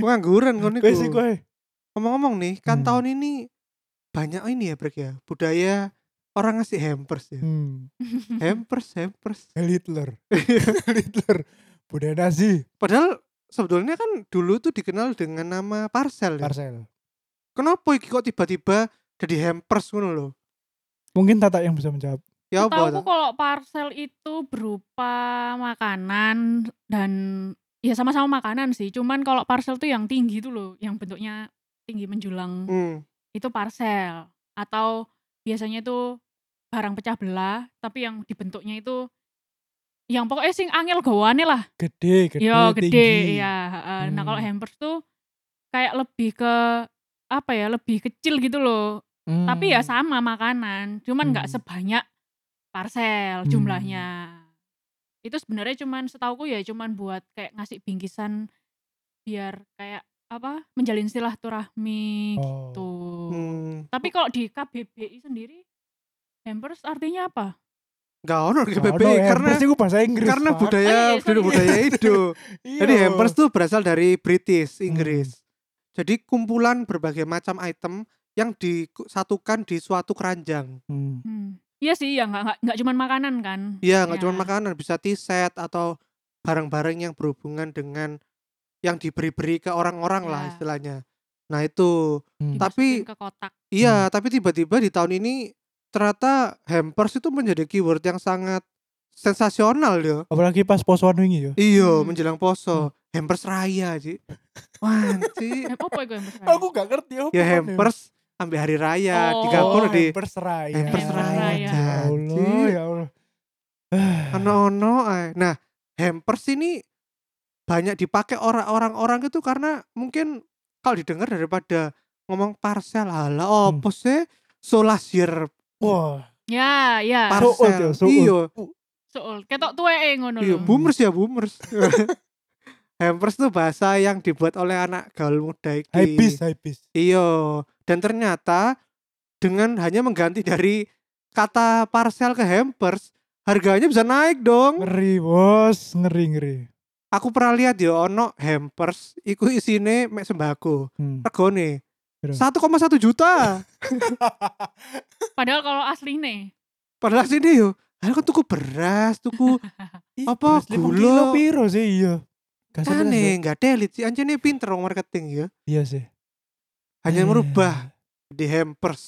Pengangguran kon Wes niku. iku. eh. Ngomong-ngomong nih, kan Hmm. tahun ini banyak ini ya, Brek ya. Budaya orang ngasih hampers ya. Hmm. Hampers, hampers. Heil Hitler. Heil Hitler. Budaya Nazi, Padahal sebetulnya kan dulu tuh dikenal dengan nama parcel ya. Marcel. Kenapa iki kok tiba-tiba jadi hampers ngono loh? Mungkin Tata yang bisa menjawab. Ya Tahu apa? ta? kalau parcel itu berupa makanan dan ya sama-sama makanan sih. Cuman kalau parcel tuh yang tinggi tuh loh, yang bentuknya tinggi menjulang Hmm. itu parcel atau biasanya itu barang pecah belah tapi yang dibentuknya itu yang pokoknya sing angel gawane lah. Gede, gede, Yo tinggi. gede ya. Nah, kalau Hmm. hampers tuh kayak lebih ke apa ya, lebih kecil gitu loh. Hmm. Tapi ya sama makanan, cuman nggak Hmm. sebanyak parcel Hmm. jumlahnya. Itu sebenarnya cuman setauku ya cuman buat kayak ngasih bingkisan biar kayak apa? menjalin silaturahmi Oh. gitu. Hmm. Tapi kalau di KBBI sendiri hampers artinya apa? Gak ono Nggak GBB ono, ya, hampers karena iku bahasa Inggris. karena Pak. budaya Oh, iya, iya, sorry. budaya itu. Iya. Jadi hampers tuh berasal dari British, Inggris. Jadi kumpulan berbagai macam item yang disatukan di suatu keranjang. Hmm. Hmm. Iya sih, ya nggak nggak nggak cuman makanan kan. Iya, nggak Ya. cuma makanan, bisa t-shirt atau barang-barang yang berhubungan dengan yang diberi-beri ke orang-orang lah Ya. istilahnya. Nah itu, Hmm. Tapi- Dimasukin ke kotak. iya. Tapi tiba-tiba di tahun ini ternyata hampers itu menjadi keyword yang sangat sensasional ya. apalagi pas poswan wingi yo. Iya, Hmm. menjelang poso, hampers raya sih. Wah, Ci. Eh, Apa itu hampers? Aku gak ngerti apa. ya hampers ambil hari raya Oh. digabung di hampers raya. hampers Hampers raya raya. Ya Allah, janji. ya Allah. ono ono nah hampers ini banyak dipakai orang- orang-orang itu karena mungkin kalau didengar daripada ngomong parcel ala Hmm. opo sih solasir Wah, Ya, ya. Par- Soot ya, Hmm. parcel soot. iya Soal ketok tuweke ngono Iya, lho. boomers ya boomers. Hampers tuh bahasa yang dibuat oleh anak gaul muda iki. high bis high bis Iya, dan ternyata dengan hanya mengganti dari kata parcel ke hampers, harganya bisa naik dong. ngeri bos ngeri ngeri Aku pernah lihat ya ono hampers iku isine mek sembako. Hmm. Regane Piro? 1,1 juta. Padahal kalau asline Padahal sini yo, aku tuku beras, tuku Ih, Apa, beras limang gula? kilo piro sih iya Gak sampai aneh, nggak delit sih. Anjene pinter wong marketing ya. sampai. iya sih Hanya Eh. merubah di hampers.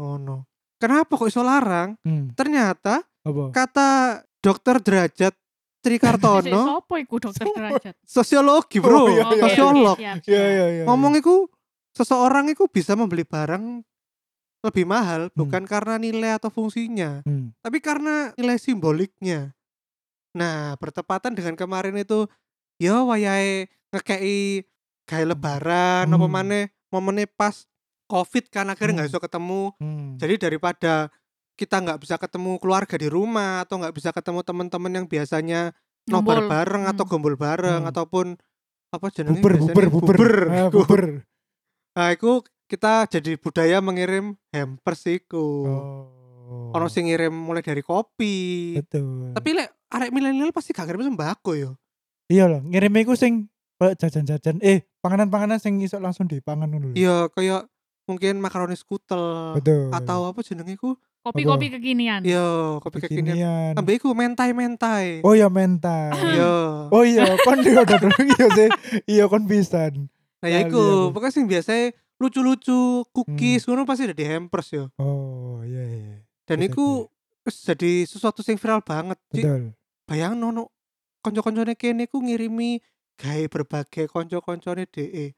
Oh no. Kenapa kok iso larang? hmm. Ternyata apa kata dokter derajat Sik, Trikartono sopo iku dokter Sopo? derajat? sosiologi bro Oh, iya, iya. Oke, Ya, sosiolog oke, siap, iya siap. iya iya ngomong iku seseorang itu bisa membeli barang lebih mahal bukan karena nilai atau fungsinya Hmm. tapi karena nilai simboliknya nah bertepatan dengan kemarin itu ya wayahe ngekei kayak lebaran apa Hmm. maneh momennya pas covid kan akhirnya nggak Hmm. bisa ketemu Hmm. jadi daripada kita nggak bisa ketemu keluarga di rumah atau nggak bisa ketemu teman-teman yang biasanya nobar Ngombol. bareng atau Hmm. gombol bareng Hmm. ataupun apa jenenge buber biasanya? buber buber Ah, Iku. buber Nah, iku kita jadi budaya mengirim hampers iku. oh Ono sing ngirim mulai dari kopi. betul Tapi lek arek milenial pasti gak ngirim sembako yo. iya loh ngirim iku sing kayak jajan-jajan eh panganan-panganan sing iso langsung dipangan ngono lho. Iya, kayak mungkin makaroni skutel betul atau apa jenenge iku? Kopi-kopi kekinian. Iya. Yo, kopi kekinian. Kekinian. Tambah iku mentai-mentai. oh ya mentai Yo. oh iya kon juga udah dulu iya sih iya kon pisan Nah, ya Lali iku, aku. pokoknya sing biasanya lucu-lucu, cookies, Hmm. ngono pasti ada di hampers yo. oh iya iya Dan Bisa iku wis jadi sesuatu sing viral banget. Ci. betul bayang nono konco-koncone kene ku ngirimi gawe berbagai konco-koncone DE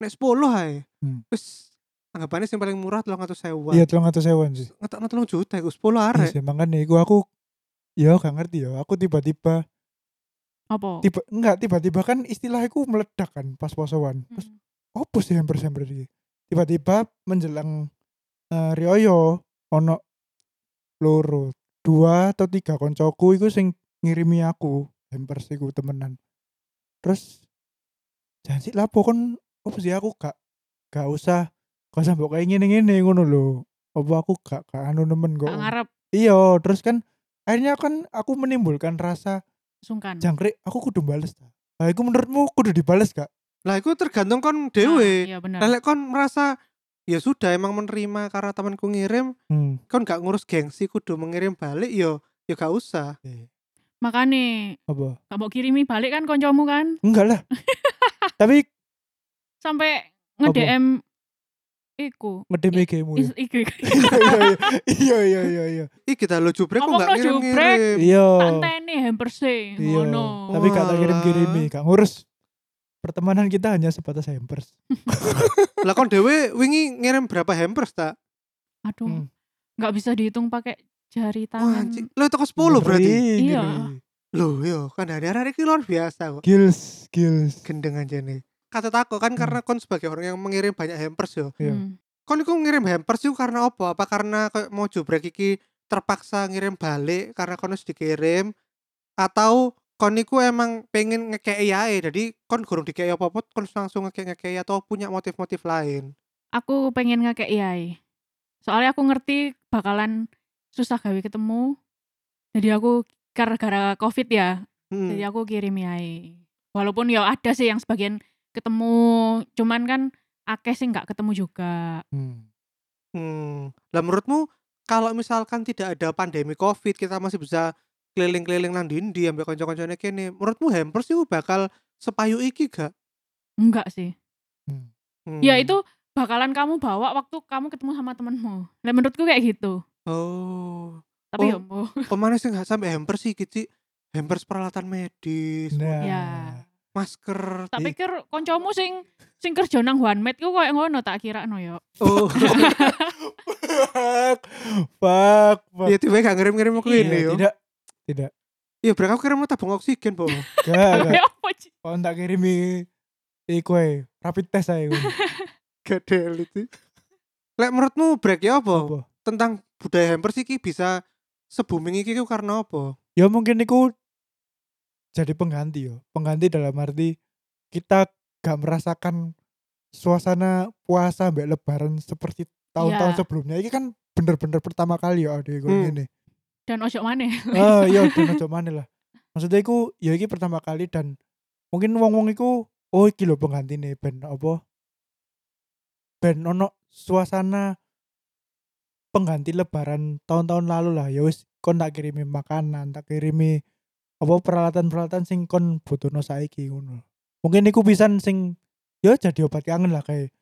nek 10 ae Hmm. wis anggapannya sing paling murah 300.000 iya tolong atau sewan sih ngetakno 3 juta iku 10 Iya arek sih, makanya iku aku ya gak ngerti ya aku tiba-tiba Apa? tiba enggak tiba-tiba kan istilah iku meledak kan pas posoan Hmm. Terus opo sih hampers hampers iki tiba-tiba menjelang eh, rioyo ono loro dua atau tiga koncoku iku sing ngirimi aku hampers iku temenan terus jangan sih lapo kon opo sih aku gak gak usah kok sampe kayak ngene-ngene ngono lho opo aku gak gak anu nemen kok Gak ngarep iya terus kan akhirnya kan aku menimbulkan rasa sungkan. jangkrik aku kudu bales ta Nah, iku menurutmu kudu dibales gak? lah iku tergantung kon Ah, dhewe Iya bener. nah lek kon merasa ya sudah emang menerima karena temanku ngirim Hmm. kon gak ngurus gengsi kudu mengirim balik yo ya gak usah Makane Eh, Apa? gak mau kirimi balik kan koncomu kan? Enggak lah. Tapi Sampai Apa? nge-DM iku. ngedem IG-mu. ya? Is- Iku. Iya iya iya iya. ih kita lo jubrek kok Ngomong gak lo jubrek. ngirim-ngirim Iya. Santai nih hamperse Iya. ngono. Tapi gak tak Walah. kirim-kirimi, gak ngurus. Pertemanan kita hanya sebatas hampers. lah kon dhewe wingi ngirim berapa hampers tak Hmm. Aduh, nggak bisa dihitung pakai jari wah tangan. anjing. lo toko 10 berarti Ngeri, Ah. Iya. ngeri. Loh yo kan hari hari ini luar biasa kok Gils, gils. gendeng aja nih kata tako kan karena kon sebagai orang yang mengirim banyak hampers ya. yo Iya. Hmm. kon iku ngirim hampers itu karena apa apa karena kayak mau jubrek iki terpaksa ngirim balik karena kon harus dikirim atau kon iku emang pengen ngekei ae jadi kon gurung dikei apa apa kon langsung ngekei ngekei atau punya motif-motif lain Aku pengen ngekek iai. Soalnya aku ngerti bakalan susah gawe ketemu. Jadi aku gara-gara covid ya, Hmm. jadi aku kirim iai. Walaupun ya ada sih yang sebagian ketemu, cuman kan akeh sih nggak ketemu juga. Hmm. Hmm. Lah menurutmu kalau misalkan tidak ada pandemi Covid kita masih bisa keliling-keliling nang dindi ambek kanca-kancane kene. Menurutmu hampers itu bakal sepayu iki gak? Enggak sih. Hmm. Hmm. Ya itu bakalan kamu bawa waktu kamu ketemu sama temenmu. Lah menurutku kayak gitu. Oh. Tapi Oh. ya mbuh. Pemana sih gak sampai hampers sih gitu? Hampers peralatan medis, Nah. Ya. masker. tak Iya. pikir koncomu sing sing kerja nang One Mate ku koyo ngono tak ya. kirakno yo. Oh, Fuck. Fuck. fuck. ya tiba gak ngirim-ngirim aku Iya, ini yo. tidak. Tidak. Ya berarti aku kirim tabung oksigen, Bo. Gak, Iya, gak. Apa sih? Kalau tak kirimi iku ae, rapid test ae. iku. gak delit sih. Lek menurutmu break ya apa? Apa? Tentang budaya hampers iki bisa se-booming iki ku karena apa? ya mungkin niku jadi pengganti yo pengganti dalam arti kita gak merasakan suasana puasa mbak lebaran seperti tahun-tahun Iya. sebelumnya ini kan bener-bener pertama kali ya ada Hmm. ini dan ojo mana ah iya dan aja maneh lah maksudnya iku ya iki pertama kali dan mungkin wong-wong iku oh iki lho penggantine ben apa ben ono suasana pengganti lebaran tahun-tahun lalu lah ya wis kon tak kirimi makanan tak kirimi apa peralatan-peralatan sing kon butuhno saiki ngono mungkin iku pisan sing ya jadi obat kangen lah kayak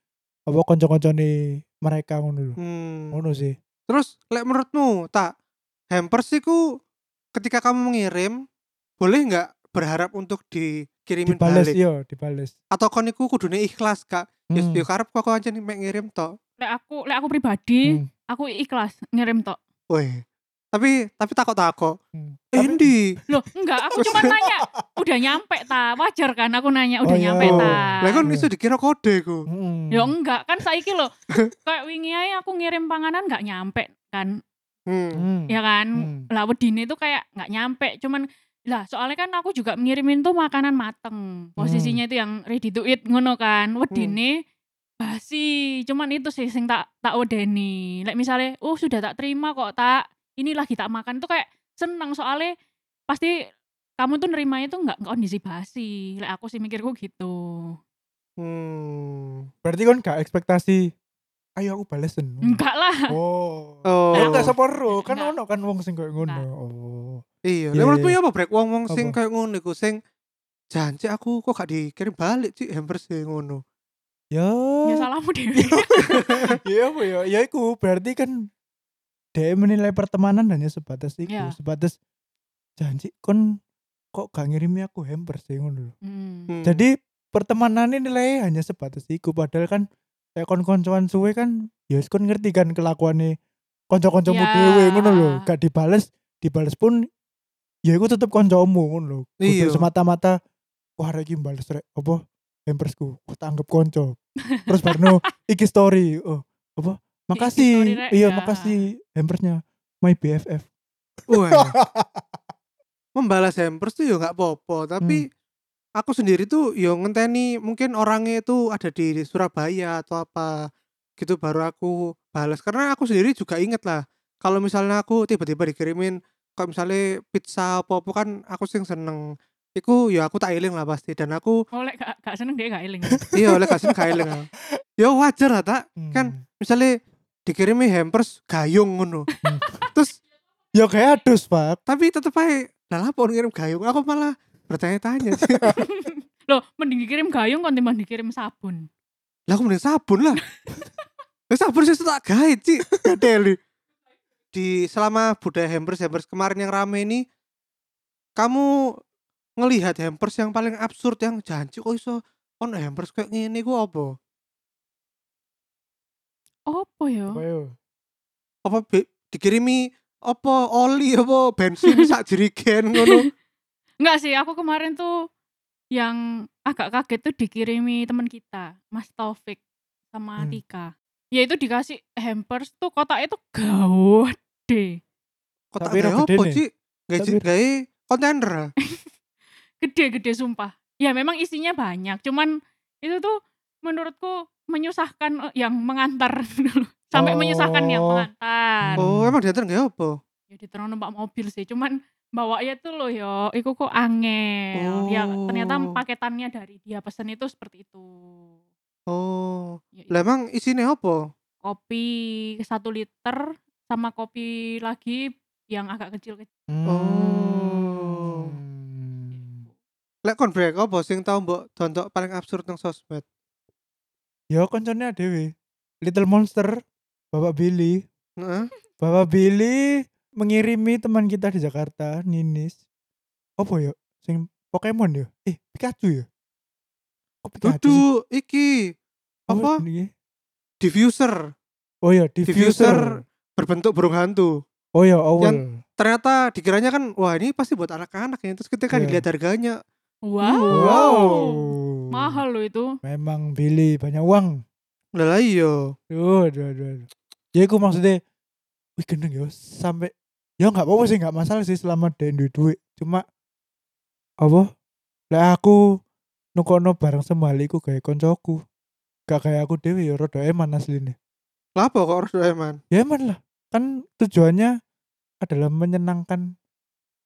apa kanca-kancane mereka ngono lho Hmm. ngono sih Terus lek menurutmu tak hampers iku ketika kamu mengirim boleh nggak berharap untuk dikirimin dibales balik yo dibales atau kon iku kudune ikhlas kak ya Hmm, yo karep kok aja nih ngirim tok lek aku lek aku pribadi hmm, aku ikhlas ngirim tok weh tapi tapi takut takut hmm. Tapi- Eh, Indi loh enggak aku cuma nanya udah nyampe ta wajar kan aku nanya udah Oh, iya. nyampe ta lah kan Iya. iso dikira kode ku Mm. ya enggak kan saiki loh kayak wingi ae aku ngirim panganan enggak nyampe kan hmm. Mm. ya kan Mm. lah wedine itu kayak nggak nyampe cuman lah soalnya kan aku juga ngirimin tuh makanan mateng posisinya itu yang ready to eat ngono kan wedine basi cuman itu sih sing tak tak wedeni like misalnya oh sudah tak terima kok tak ini lagi tak makan tuh kayak seneng soalnya pasti kamu tuh nerimanya tuh nggak nggak kondisi basi like aku sih mikirku gitu Hmm. Berarti kan gak ekspektasi ayo aku balesen. enggak lah Oh. Oh. Ya enggak sepero, kan Enggak. ono kan wong sing koyo ngono. Enggak. Oh. Iya, Iya, lah menurutmu iya. ya apa brek wong-wong sing Apa? kayak ngono iku sing janji aku kok gak dikirim balik sih hampers sing ngono. Ya. ya salahmu dewi Ya apa ya? Ya iku berarti kan dia menilai pertemanan hanya sebatas iku, Ya. sebatas janji kon kok gak ngirimi aku hampers sih ngono lho. Hmm. Hmm. Jadi pertemanan ini nilai hanya sebatas iku padahal kan kayak kon-koncoan suwe kan ya wis kon ngerti kan kelakuannya konco-koncomu Ya. dhewe ngono lho, gak dibales, dibales pun ya iku tetep koncomu ngono lho. Kudu Iya. semata-mata wah rek iki mbales rek apa hampersku, kok tak anggap konco. Terus barno iki story, oh apa story, makasih. Rek. Iya, Ya. makasih hampersnya my BFF. Wah. membalas hampers tuh ya nggak popo, tapi aku sendiri tuh ya ngenteni mungkin orangnya itu ada di Surabaya atau apa gitu baru aku balas karena aku sendiri juga inget lah kalau misalnya aku tiba-tiba dikirimin kalau misalnya pizza apa apa kan aku sing seneng iku ya aku tak iling lah pasti dan aku oleh Oh, gak, gak seneng dia gak eling iya oleh kasih gak iling aku. ya wajar lah tak Kan, Hmm. misalnya dikirimi hampers gayung ngono terus ya kayak adus, Pak. tapi tetep aja lah apa ngirim gayung aku malah bertanya-tanya loh mending dikirim gayung kan timbang dikirim sabun lah aku mending sabun lah lah sabun sih tak gawe Ci. Deli di selama budaya hampers hampers kemarin yang rame ini kamu ngelihat hampers yang paling absurd yang janji kok iso on hampers kayak gini ku apa Apa ya? Ayo. apa be- dikirimi apa oli apa bensin sak jerigen ngono Enggak sih, aku kemarin tuh yang agak kaget tuh dikirimi teman kita, Mas Taufik sama Hmm. Tika. Ya itu dikasih hampers tuh kotaknya tuh gawade. kotak Tapi gawe ra gede apa nih. sih Tapi- gawe kontainer ah. Gede-gede sumpah. Ya memang isinya banyak, cuman itu tuh menurutku menyusahkan eh, yang mengantar sampai Oh. menyusahkan yang mengantar. oh Hmm. emang diantar gawe apa Ya diterang numpak mobil sih, cuman bawanya tuh loh yo, iku kok angel. Ya ternyata Oh. paketannya dari dia pesen itu seperti itu. oh Ya, lah emang isinya apa kopi satu liter sama kopi lagi yang agak kecil-kecil. Oh. Hmm. lek kon break apa sing tau mbok dontok paling absurd nang sosmed Ya konconnya dewe. Little Monster, Bapak Billy. Heeh. Bapak Billy mengirimi teman kita di Jakarta, Ninis. Apa ya? Sing Pokemon ya? Eh, Pikachu ya? Kok sih? Dudu iki apa? Oh, ini. diffuser, Oh ya, diffuser diffuser. berbentuk burung hantu. Oh ya, owl. Ternyata dikiranya kan wah ini pasti buat anak-anak ya. Terus ketika Iya. dilihat harganya, Wow. Mahal. Mahal loh itu. Memang Billy banyak uang. lah lah iya. Duh, duh, duh. duh. Ya aku maksudnya, wih gendeng ya, sampai ya nggak apa-apa sih nggak masalah sih selama ada duit duit cuma apa lah aku nukono bareng sembaliku kayak koncoku gak kayak aku dewi ya rodo eman aslinya Lapo kok harus eman? ya eman lah kan tujuannya adalah menyenangkan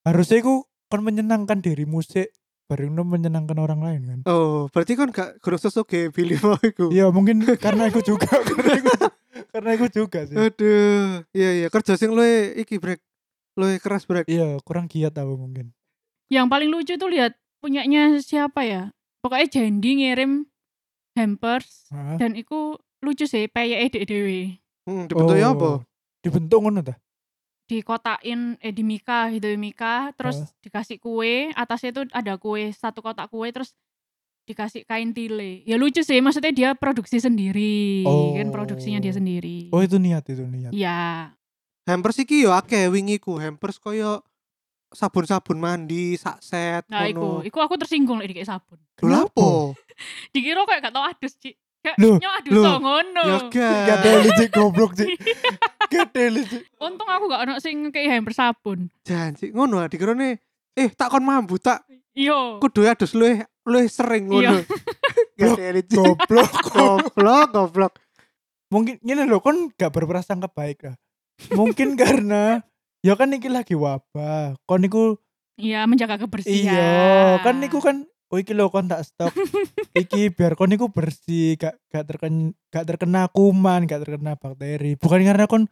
harusnya ku kan menyenangkan dirimu sih bareng no menyenangkan orang lain kan Oh, berarti kan gak kurang sesuke pilih mau iku. iya mungkin karena aku juga karena aku, karena aku juga sih Aduh, iya iya kerja sing luwe iki brek. Luwe keras brek. iya kurang giat aku mungkin Yang paling lucu tuh lihat punyanya siapa ya. Pokoknya Jendi ngirim hampers Hah? dan iku lucu sih payake dhek dhewe. Hmm, dibentuknya Oh, apa? dibentuk ngono ta Dikotain eh di Mika gitu Mika terus Hah? dikasih kue, atasnya tuh ada kue, satu kotak kue terus dikasih kain tile. Ya lucu sih, maksudnya dia produksi sendiri. Oh. Kan produksinya dia sendiri. oh itu niat itu niat Iya. Hampers iki yo akeh wingiku. Hampers koyo sabun-sabun mandi, sak set Nah, iku, iku aku tersinggung lagi kayak sabun. Lho lapo? Dikira kayak gak tau adus, Cik. Kayak Loh, nyok adus loh, tau ngono. Ya Gak gak. ada licik goblok sih. Gak ada licik. Untung aku gak ono sing kayak hampers sabun. Janji ngono lah dikirone eh tak kon mambu tak Yo. kudu adus luwe luwe sering ngono. Gak elit. Goblok. Goblok, goblok. Mungkin ini loh kon gak berprasangka baik lah. Mungkin karena ya kan iki lagi wabah. Kon niku Iya, menjaga kebersihan. iya, kan niku kan oh iki lho kon tak stok. Iki biar kon niku bersih, gak gak terkena gak terkena kuman, gak terkena bakteri. Bukan karena kon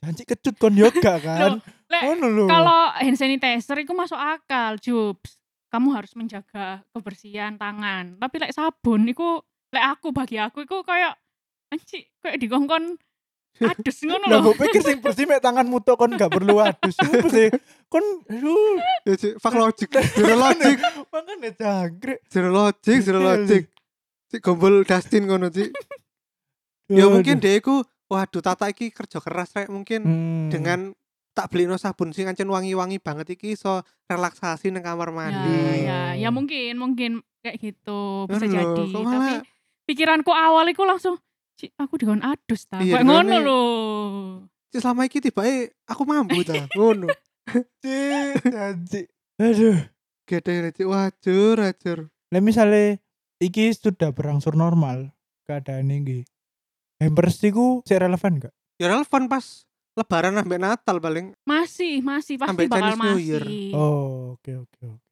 janji kecut kon yoga kan. Lek, Ngono lho. kalau hand sanitizer itu masuk akal, Jubs. Kamu harus menjaga kebersihan tangan. Tapi lek sabun iku lek aku bagi aku iku kayak anci kayak digongkon adus ngono Lah lho. mbok pikir sing bersih mek tanganmu tok kon gak perlu adus. Apa sih? Kon aduh, Ya Cik, fuck logic. Zero logic, makanya jangkrik. zero logic, zero Iya, logic. Cik gombol Dustin ngono Cik. Ya mungkin Aduh. dia iku waduh tata iki kerja keras rek mungkin Hmm. dengan tak beli sabun sing ancen wangi-wangi banget iki iso relaksasi nang kamar Ya, mandi. ya, ya mungkin mungkin kayak gitu bisa Aduh, jadi. kok Tapi malah- pikiranku awal iku langsung Cik, aku digon adus ta. Iya, Kayak ngono dikongkon- lho. Cik, selama iki tiba aku mampu ta. Ngono. Cik, janji. Aduh. Gede Cik, wajur, wajur. Lah misale iki sudah berangsur normal keadaan ini. Hampers iku sik relevan gak? Ya relevan pas lebaran sampai Natal paling. Masih, masih pasti Sampai bakal Chinese New Year. masih. Oh, oke oke oke.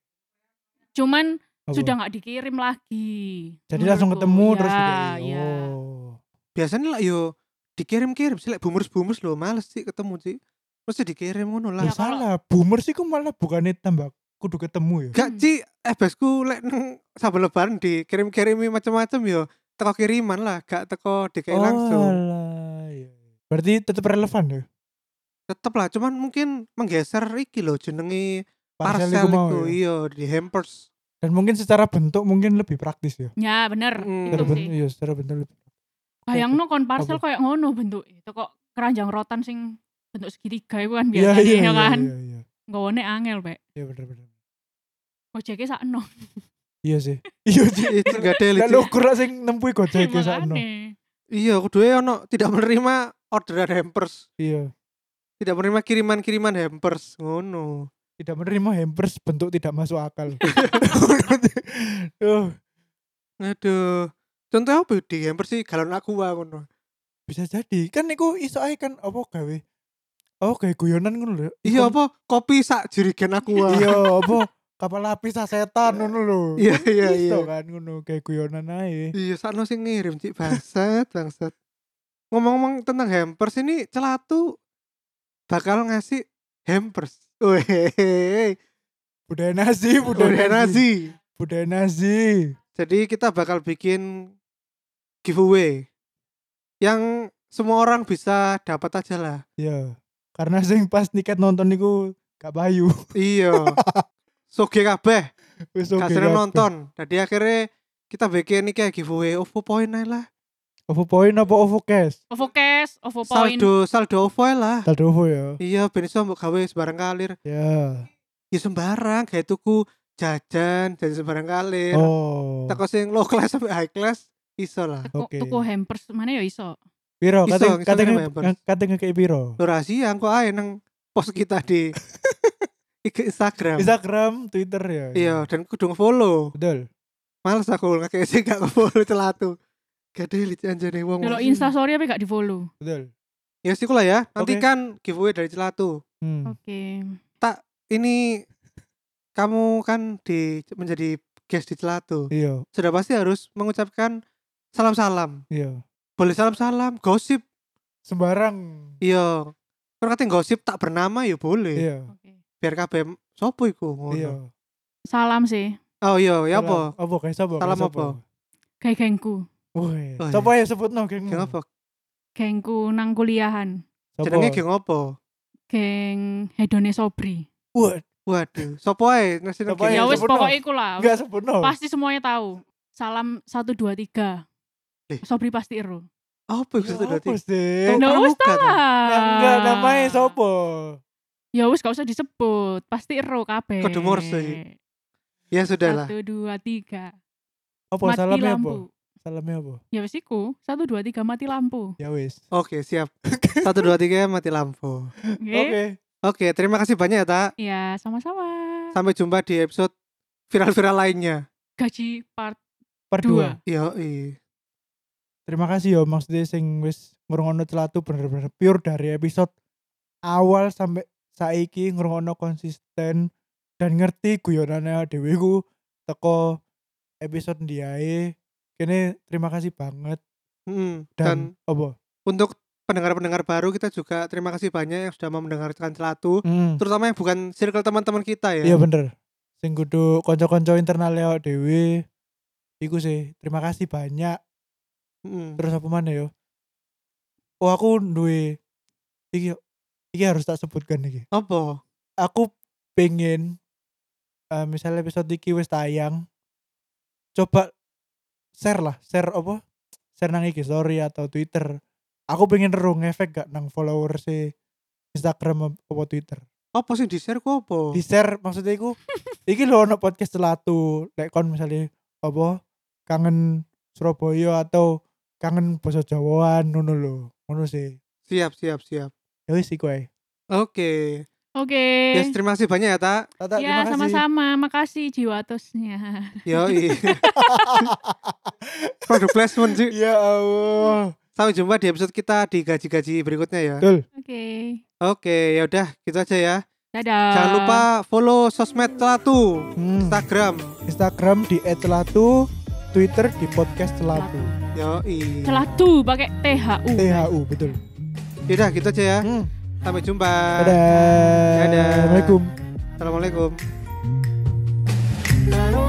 Cuman Apa? sudah nggak dikirim lagi. Jadi langsung menurutku. ketemu terus Ya, dikei. ya. Oh. Biasanya lah yo dikirim-kirim sih lek bumus-bumus lho males sih ketemu Cik. Mesti dikirim ngono lah. Lah Ya, kalau- salah, boomer sih ku malah bukannya tambah kudu ketemu ya. Gak Hmm. Ci, ebesku lek Eh, neng saben lebaran dikirim-kirimi macam-macam yo. Teko kiriman lah, gak teko DKI langsung. alah, Oh, iya. Berarti tetap relevan ya. Tetep lah, cuman mungkin menggeser iki lho jenenge Parcel parcel iku mau. iku ya. iya di hampers. Dan mungkin secara bentuk mungkin lebih praktis ya. Ya bener Hmm. Secara itu sih. bentuk, iya, secara bentuk lebih. Bayangno kon parcel Apa? kayak ngono bentuk itu kok keranjang rotan sing bentuk segitiga itu kan Iya, biasanya iya, ya kan. Iya, iya. Nggawane angel, Pak. Iya benar-benar. Gojeknya sakno. Iya sih. Iya sih. Itu gak ada Lah Ci. lho kurang sing nempui Gojek ya sakno. Makane. Iya, kuduwe ono tidak menerima orderan hampers, Iya. tidak menerima kiriman-kiriman hampers ngono. Tidak menerima hampers bentuk tidak masuk akal. Oh, Duh, Aduh. Contoh apa yo di hampers sih galon aqua ngono. bisa jadi kan niku iso ae kan apa gawe. Oh, gawe guyonan ngono lho. Iya Kon- apa kopi sak jerigen aqua. Iya, apa kapal lapis setan ngono lho. Iya iya iya. Iso kan ngono gawe guyonan ae. Iya, sakno sing ngirim cik bangsat, bangsat. Ngomong-ngomong tentang hampers ini celatu bakal ngasih hampers. Wehehe. Budaya nasi, Budaya Nazi. Budaya nasi. Jadi kita bakal bikin giveaway yang semua orang bisa dapat aja lah. Iya. Karena sing pas tiket nonton niku gak payu. Iya. Soge kabeh, Wis oke kasih kabeh. nonton. Jadi akhirnya kita bikin ini kayak giveaway OVO poin aja lah. Ovo poin apa ovo cash? Ovo cash, ovo point. Saldo saldo OVO aja lah. Tadi ovo ya. Iya, ben iso mbok gawe sebarang kalir. Ya. ya sembarang kayak tuku jajan jajan sembarang kali oh. Oh. teko sing low class sampai high class iso lah Teko- Oke. Oh, Tuku hampers mana ya iso. Piro Iso, iso kateng ya, kateng kena members. kateng ngekei piro? lo rahasia kok ae nang post kita di IG Instagram. Instagram, Twitter ya. Iya, dan kudu follow. Betul. Males aku ngekek sih gak follow celatu. Gede licik anjane wong. Kalau iya. Insta story apa gak di follow? Betul. Ya sih lah ya. Nanti Oke. kan giveaway dari celatu. Hmm. Oke. Ini kamu kan di menjadi guest di celatu. Iya, Sudah pasti harus mengucapkan salam-salam. iya. Boleh salam-salam, gosip. Sembarang. Iya. Kalau katanya gosip tak bernama ya boleh. Iya. Oke. Biar kabeh sopo iku ngono. Iya. Salam sih, Oh iya, ya apa? Apa guys apa? Salam guys, apa? kayak gengku. Woi. Oh, Sapa ya sebutno geng. Geng apa? Gengku nang kuliahan. Sapa? Jenenge geng apa? Geng hedone sobri. Wah, Waduh, sopo ae nasi nang Sopo ae, geng ya wis sopo? sebut dong. pokoknya iku lah. Oh, iya, enggak sebutno. Pasti semuanya tahu. Salam 1 2 3. Eh. Sobri pasti ero. Apa iku Ya, dadi? apa sih? Tau Nah, wis pramuka tuh. Ya, Enggak namanya sapa? Ya wis gak usah disebut, pasti ero kabeh. Kode Morse iki. Ya sudahlah. 1 2 3. Apa Mati salamnya apa? lampu. Salamnya apa? Ya wis iku, 1 2 3 mati lampu. Ya wis. Oke, siap. Satu dua tiga mati lampu. Nggih. Oke. Oke, terima kasih banyak ya, Tak. Ya, sama-sama. Sampai jumpa di episode viral-viral lainnya. Gaji part Part 2. Dua. Yo, Terima kasih ya maksudnya sing wis ngrungokno celatu bener-bener pure dari episode awal sampai saiki ngrungokno konsisten dan ngerti guyonane dhewe ku teko episode ndiae. Kene terima kasih banget Hmm, Dan, dan, opo? untuk pendengar-pendengar baru kita juga terima kasih banyak yang sudah mau mendengarkan celatu, Hmm. terutama yang bukan circle teman-teman kita ya. Iya bener. Sing kudu kanca-kanca internal awake dhewe iku sih. Terima kasih banyak. Mm. Terus apa mana yo? Oh aku duwe iki iki harus tak sebutkan iki. Apa? aku pengen eh, misalnya episode iki wis tayang coba share lah share apa share nang IG story atau Twitter aku pengen ro ngefek gak nang follower si Instagram ap- apa Twitter Apa sih di share ku apa? di share maksudnya iku iki lho ono podcast celatu lek kon misalnya apa kangen Surabaya atau kangen basa Jawaan ngono lho ngono sih Siap, siap, siap. ya wis iku ae Oke. Oke. Ya, terima kasih banyak ya, Tak. Tata, ya, terima kasih. sama-sama. Makasih jiwa tosnya. Yo, Produk placement sih. ya Allah Sampai jumpa di episode kita di gaji-gaji berikutnya ya. betul Oke. Oke, ya udah gitu aja ya. Dadah. Jangan lupa follow sosmed Celatu, Hmm. Instagram. Instagram di @celatu, Twitter di podcast celatu. Yoi. Celatu pakai THU. THU betul. Ya udah gitu aja ya. Hmm. Sampai jumpa. Dadah. Dadah. Assalamualaikum. Assalamualaikum. Lalu